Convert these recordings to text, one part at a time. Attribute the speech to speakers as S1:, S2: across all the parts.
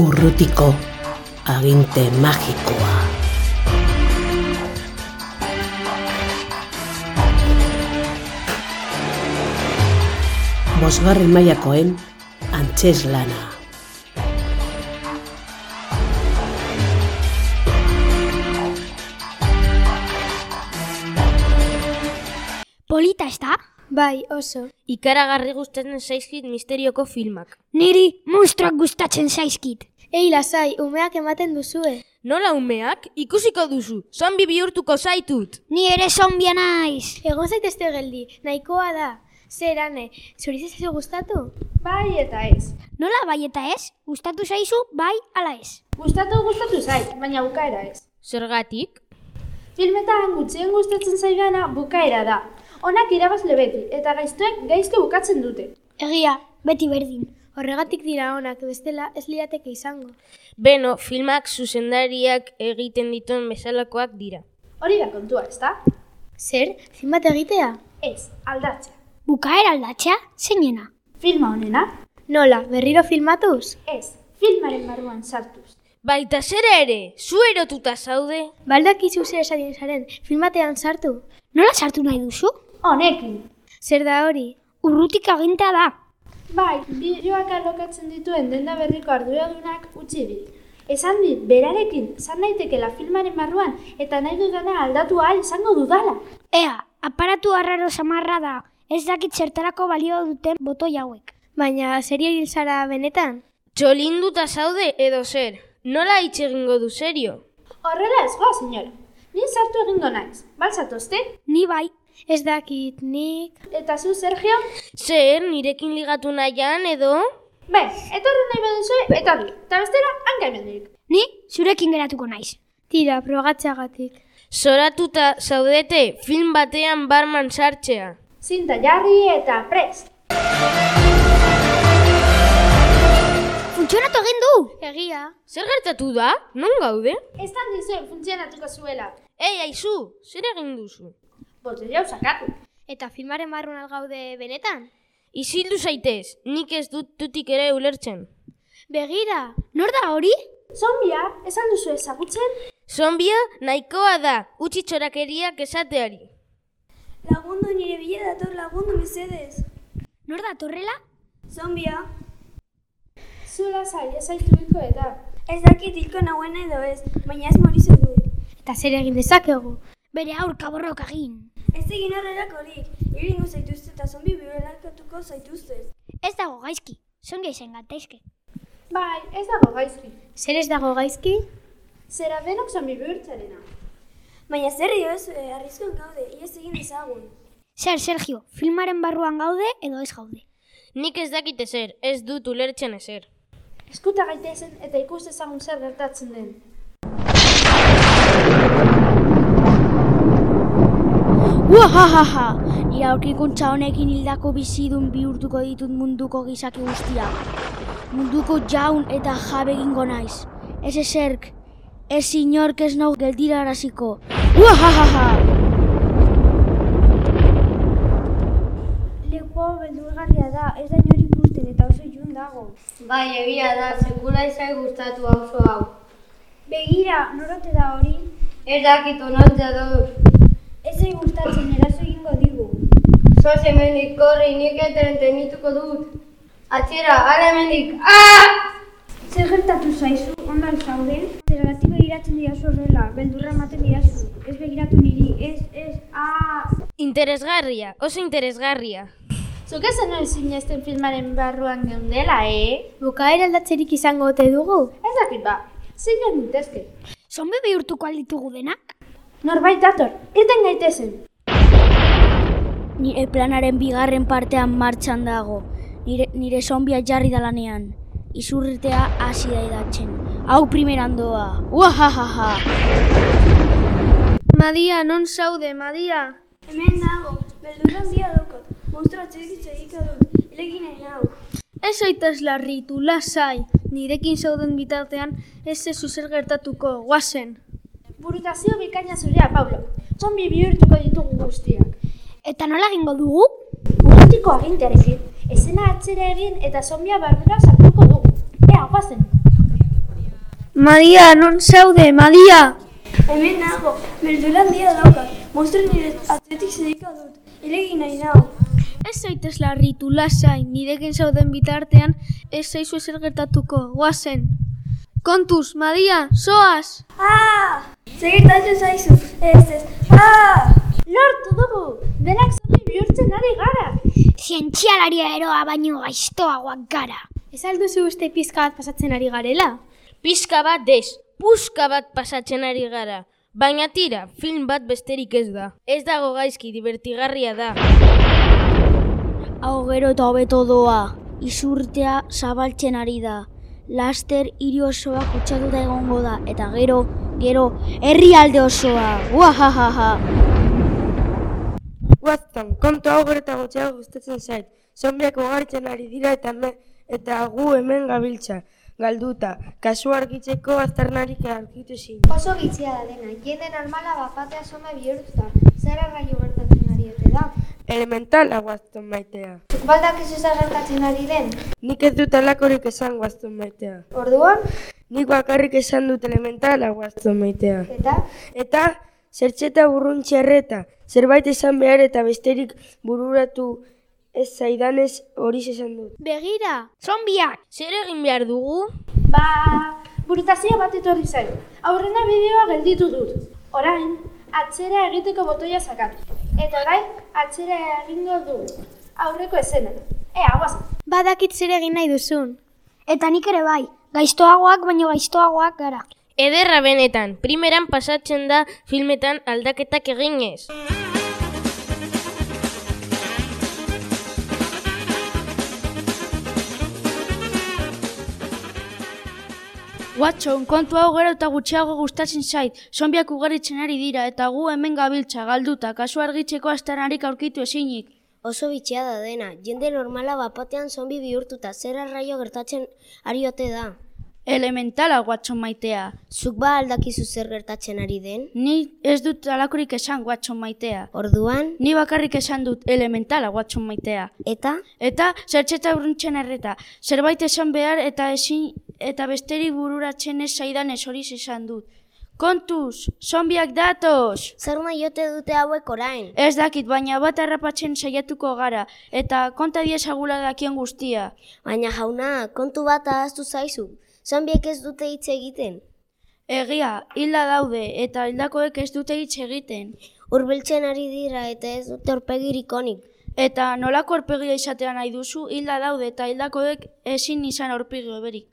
S1: urrutiko aginte magikoa. Bosgarren mailakoen antxez lana.
S2: Polita, ez da?
S3: Bai, oso.
S4: Ikaragarri gustatzen zaizkit misterioko filmak.
S2: Niri monstruak gustatzen zaizkit.
S3: Ei, lasai, umeak ematen duzue.
S4: Nola umeak? Ikusiko duzu, zombi bihurtuko zaitut.
S2: Ni ere zombia naiz.
S3: Egon zaitezte geldi, nahikoa da. Zerane, zuri zaizu gustatu?
S5: Bai eta ez.
S2: Nola bai eta ez? Gustatu zaizu bai ala ez.
S5: Gustatu gustatu zait, baina bukaera ez.
S4: Zergatik?
S5: Filmetan gutxien gustatzen zaidana bukaera da. Onak irabazle beti eta gaiztuek gaizto bukatzen dute.
S2: Egia, beti berdin.
S3: Horregatik dira onak, bestela ez lirateke izango.
S4: Beno, filmak zuzendariak egiten dituen bezalakoak dira.
S5: Hori da kontua, ezta?
S3: Zer, zinbat egitea?
S5: Ez, aldatzea.
S2: Bukaera aldatzea, zeinena.
S5: Filma honena?
S3: Nola, berriro filmatuz?
S5: Ez, filmaren barruan sartuz.
S4: Baita zera ere, zu erotuta zaude?
S3: Baldakizu Ba, zer esaten zaren, filmatean sartu.
S2: Nola sartu nahi duzu?
S5: Honekin.
S3: Zer da hori?
S2: Urrutik agintea da.
S5: Bai, bideoak alokatzen dituen denda berriko arduradunak utzi dit. Esan dit, berarekin, zan daitekela filmaren barruan eta nahi dudana aldatu ahal izango dudala.
S2: Ea, aparatu arraro samarra da. Ez dakit zertarako balio duten botoi hauek.
S3: Baina, zer hil zara benetan?
S4: Txolinduta zaude edo zer? Nola hitz egingo du serio?
S5: Horrela ez goa, senyora. Ni sartu egingo naiz. Balzatozte?
S2: Ni bai,
S3: Ez dakit, nik...
S5: Eta zu, Sergio?
S4: Zer, nirekin ligatu nahian edo?
S5: Bai, etorri nahi baduzue, etorri. Eta bestera, hanka hemendik.
S2: ni zurekin geratuko naiz.
S3: Tira, progatxagatik.
S4: Zoratuta zaudete film batean barman sartzea.
S5: Zinta jarri eta prest.
S2: Funtzionatu egin du!
S3: Egia.
S4: Zer gertatu da? Non gaude?
S5: Ez da dizuen funtzionatuko zuela.
S4: Ei, aizu, zer egin duzu?
S5: Boteria usakatu.
S3: Eta filmaren barruan algaude benetan?
S4: Isildu zaitez, nik ez dut tutik ere ulertzen.
S3: Begira!
S2: Nor da hori?
S5: Zombia, esan duzu ezagutzen?
S4: Zombia nahikoa da, utzi txorakeriak esateari.
S6: Lagundu nire bila dator lagundu mesedez.
S2: Nor da torrela?
S6: Zombia,
S5: Zula zai, ezaituriko eta.
S6: ez dakit hilko nauen edo ez, baina ez morizu du.
S3: Eta zer egin dezakegu?
S2: Bere aurka borroka egin.
S6: Ez egin horrerak horik, hiringo zaituzte eta zombi biberakatuko zaituzte.
S2: Ez dago gaizki, zonge izen gatezke.
S5: Bai, ez dago gaizki.
S3: Zer ez dago gaizki?
S5: Zera benok zombi bihurtzarena.
S6: Baina zer dio ez, eh, arriskuan gaude, ies egin dezagun.
S2: Zer, Sergio, filmaren barruan gaude edo ez gaude.
S4: Nik ez dakit ezer, ez dut ulertzen ezer.
S5: Eskuta gaitezen eta ikus ezagun zer gertatzen den.
S7: Uahahaha! Nire aurkikuntza honekin hildako bizidun bihurtuko ditut munduko gizaki guztia. Munduko jaun eta jabe egingo naiz. Ez ezerk, ez inork ez nau geldira araziko. Uahahaha!
S6: Lekoa beldurgarria da, ez da inori ikusten eta oso ilun dago.
S8: Bai, egia da, sekula izai gustatu auzo hau.
S6: Begira, norote da hori?
S8: Ez dakit onotzea dut.
S6: Ez zai gustatzen eraso egingo digu.
S8: Zoaz hemendik korri, nik eteren tenituko dut. Atxera, ara hemendik, Ah! aaa!
S6: Zer gertatu zaizu, ondan zaude? Zergatik begiratzen dira horrela, beldurra ematen dira Ez begiratu niri, ez, ez, ah! aaa!
S4: Interesgarria, oso interesgarria.
S5: Zuk esan hori sinesten filmaren barruan geundela, eh?
S3: Bukaera aldatzerik izango ote dugu?
S5: Ez dakit ba, zein nintezke.
S2: Zombi bihurtuko alditugu denak?
S5: Norbait dator, irten gaitezen.
S7: Nire planaren bigarren partean martxan dago. Nire, nire zombia jarri da lanean. Izurritea hasi da idatzen. Hau primeran doa. Uahahaha!
S3: Madia, non zaude, Madia?
S6: Hemen dago, beldurra handia daukat, monstrua txekitz egika dut, hilegin nahi hau.
S3: Ez zaitez larritu, lasai. Nirekin zauden bitartean ez ez zer gertatuko, guazen.
S5: Burutazio bikaina zurea, Pablo. Zombi bihurtuko ditugu guztiak.
S2: Eta nola egingo dugu?
S5: Burutiko agintearekin, ezena atzera egin eta zombia bardura sartuko dugu. Ea, guazen.
S3: Madia, non zaude, Madia!
S6: Hemen nago, beldura handia dauka, monstru nire atzetik zedika dut, hilegi nahi nago.
S3: Ez zaitez larritu, lasai, nirekin zauden bitartean, ez zaizu ezer gertatuko, guazen. Kontuz, Madia, zoaz!
S6: Ah! Zegitatzen zaizu, ez ez, ah!
S5: Lortu dugu! Denak zombie bihurtzen ari gara!
S2: Zientzialaria eroa baino gaiztoagoak gara.
S5: Ez alduzu uste pizka bat pasatzen ari garela?
S4: Pizka bat ez, puska bat pasatzen ari gara. Baina tira, film bat besterik ez da. Ez dago gaizki, divertigarria da.
S7: Hau gero eta hobeto doa, izurtea zabaltzen ari da. Laster hiri osoa kutsatuta egongo da, eta gero, gero, herrialde osoa, guahahaha.
S9: Guaztan, kontu hau gero eta gutxiago gustatzen zait. Zombiak ugaritzen ari dira eta, me, eta gu hemen gabiltza, galduta. Kasu argitzeko aztarnarik argitu zin.
S5: Oso gitzia da dena, jende normala bat batea zoma bihurtuta. Zer arraio gertatzen ari ote da?
S9: Elementala guaztan maitea.
S5: Zuk baldak ez ez gertatzen ari den?
S9: Nik ez dut alakorik esan guaztan maitea.
S5: Orduan?
S9: Nik bakarrik esan dut elementala guaztan maitea.
S5: Eta?
S9: Eta zertxeta burruntxe erreta, zerbait esan behar eta besterik bururatu ez zaidanez hori esan dut.
S2: Begira, zombiak!
S4: Zer egin behar dugu?
S5: Ba, burutazio bat etorri zaigu. Aurrena bideoa gelditu dut. Orain, atzera egiteko botoia sakatu. Eta orain, atzera egingo dugu. Aurreko esena. E, Ea, guazen.
S2: Badakit zer egin nahi duzun. Eta nik ere bai, gaiztoagoak baino gaiztoagoak gara.
S4: Ederra benetan, primeran pasatzen da filmetan aldaketak eginez.
S7: Watson, kontu hau gero eta gutxiago gustatzen zait, zombiak ugaritzen ari dira eta gu hemen gabiltza galduta, kasu argitzeko astanarik aurkitu ezinik.
S10: Oso bitxia da dena, jende normala bapatean zombi bihurtuta, zer arraio gertatzen ari ote da.
S7: Elementala, Watson maitea.
S10: Zuk ba aldakizu zer gertatzen ari den?
S7: Ni ez dut alakorik esan Watson maitea.
S10: Orduan,
S7: Ni bakarrik esan dut elementala Watson maitea.
S10: eta
S7: Eta zertxeta urruntzen erreta, zerbait esan behar eta ezin eta besterik bururatzen ez zaidan ez hori esan dut. Kontuz, zombiak datoz!
S10: zer maiote dute hauek orain?
S7: Ez dakit, baina bat harrapatzen saiatuko gara, eta konta diezagula dakien guztia.
S10: Baina jauna, kontu bat ahaztu zaizu, zombiek ez dute hitz egiten.
S7: Egia, hilda daude, eta hildakoek ez dute hitz egiten.
S10: Urbiltzen ari dira eta ez dute horpegirik onik.
S7: Eta nolako horpegia izatea nahi duzu, hilda daude eta hildakoek ezin izan horpegi berik.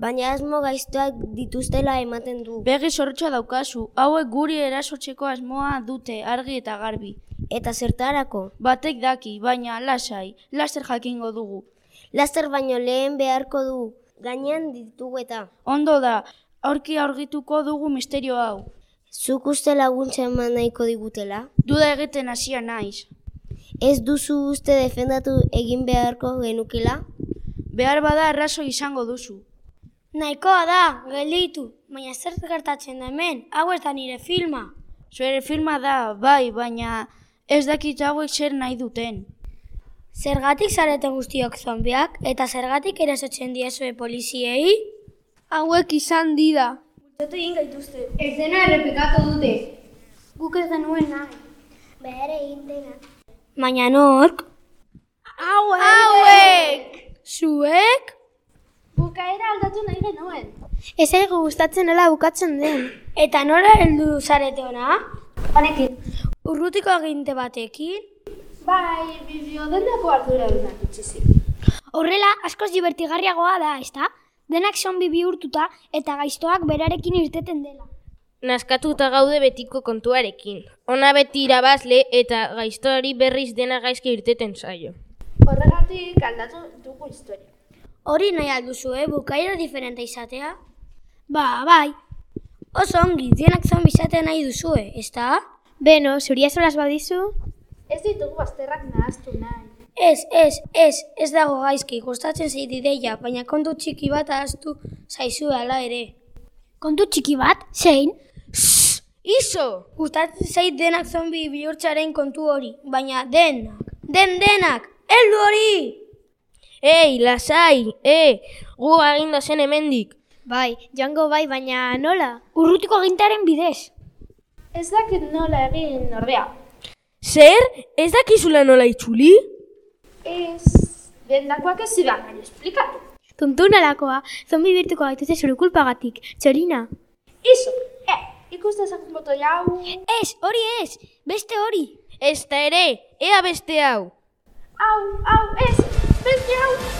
S10: Baina asmo gaiztoak dituztela ematen du.
S7: Begi zorrotxoa daukazu, hauek guri erasotzeko asmoa dute argi eta garbi.
S10: Eta zertarako,
S7: Batek daki, baina lasai, laster jakingo dugu.
S10: laster baino lehen beharko du, gainean ditugu eta.
S7: Ondo da, aurki aurgituko dugu misterio hau.
S10: Zuk uste laguntza eman nahiko digutela?
S7: Duda egiten hasia naiz.
S10: Ez duzu uste defendatu egin beharko genukela?
S7: Behar bada arraso izango duzu.
S2: Nahikoa da, gelditu, baina zer gertatzen da hemen, hau ez da nire filma.
S7: Zure filma da, bai, baina ez dakit hauek zer nahi duten.
S2: Zergatik zareten guztiok zombiak, eta zergatik erasotzen diezue poliziei?
S3: Hauek izan dira.
S8: Ez dena errepikatu dute.
S5: Guk ez denuen nahi. Behar egin dena.
S2: Baina nork? Hauek! Zuek?
S5: Bukaera aldatu nahi genuen.
S2: Ez aigu gustatzen nola bukatzen den. Eta nola heldu zarete ona?
S5: Honekin.
S2: Urrutiko aginte batekin?
S5: Bai, bibio dendako ardura dunak itxizik.
S2: Horrela, askoz divertigarriagoa da, ezta? Denak zombi bihurtuta eta gaiztoak berarekin irteten dela.
S4: Naskatuta gaude betiko kontuarekin. Ona beti irabazle eta gaiztoari berriz dena gaizki irteten zaio.
S5: Horregatik aldatu dugu historia.
S2: Hori nahi alduzu, eh? Bukaira diferente izatea? Ba, bai. Oso ongi, denak zombi izatea nahi duzue, ezta? Beno, zuria zoraz badizu?
S5: Ez ditugu bazterrak nahaztu nahi.
S2: Ez, ez, ez, ez dago gaizki, gustatzen zait ideia, baina kontu txiki bat ahaztu zaizu ala ere. Kontu txiki bat? Zein?
S4: Iso!
S2: Gustatzen zait denak zombi bihurtzaren kontu hori, baina denak, den denak, heldu hori!
S4: Ei, lasai! E, gu agindu eh, zen hemendik.
S3: Bai, joango bai, baina nola?
S5: Urrutiko agintaren bidez. Ez dakit nola egin ordea.
S4: Zer? Ez dakizula nola itzuli?
S5: Ez, dendakoak ez zidan, baina esplikatu.
S3: Tuntunalakoa, zombi birtuko gaituzte zure kulpagatik, txorina.
S5: Iso, eh, ikus dezakun botoia hau.
S3: Ez, hori ez, beste hori.
S4: Ez da ere, ea beste hau.
S5: Hau, hau, ez, beste hau.
S4: Ah!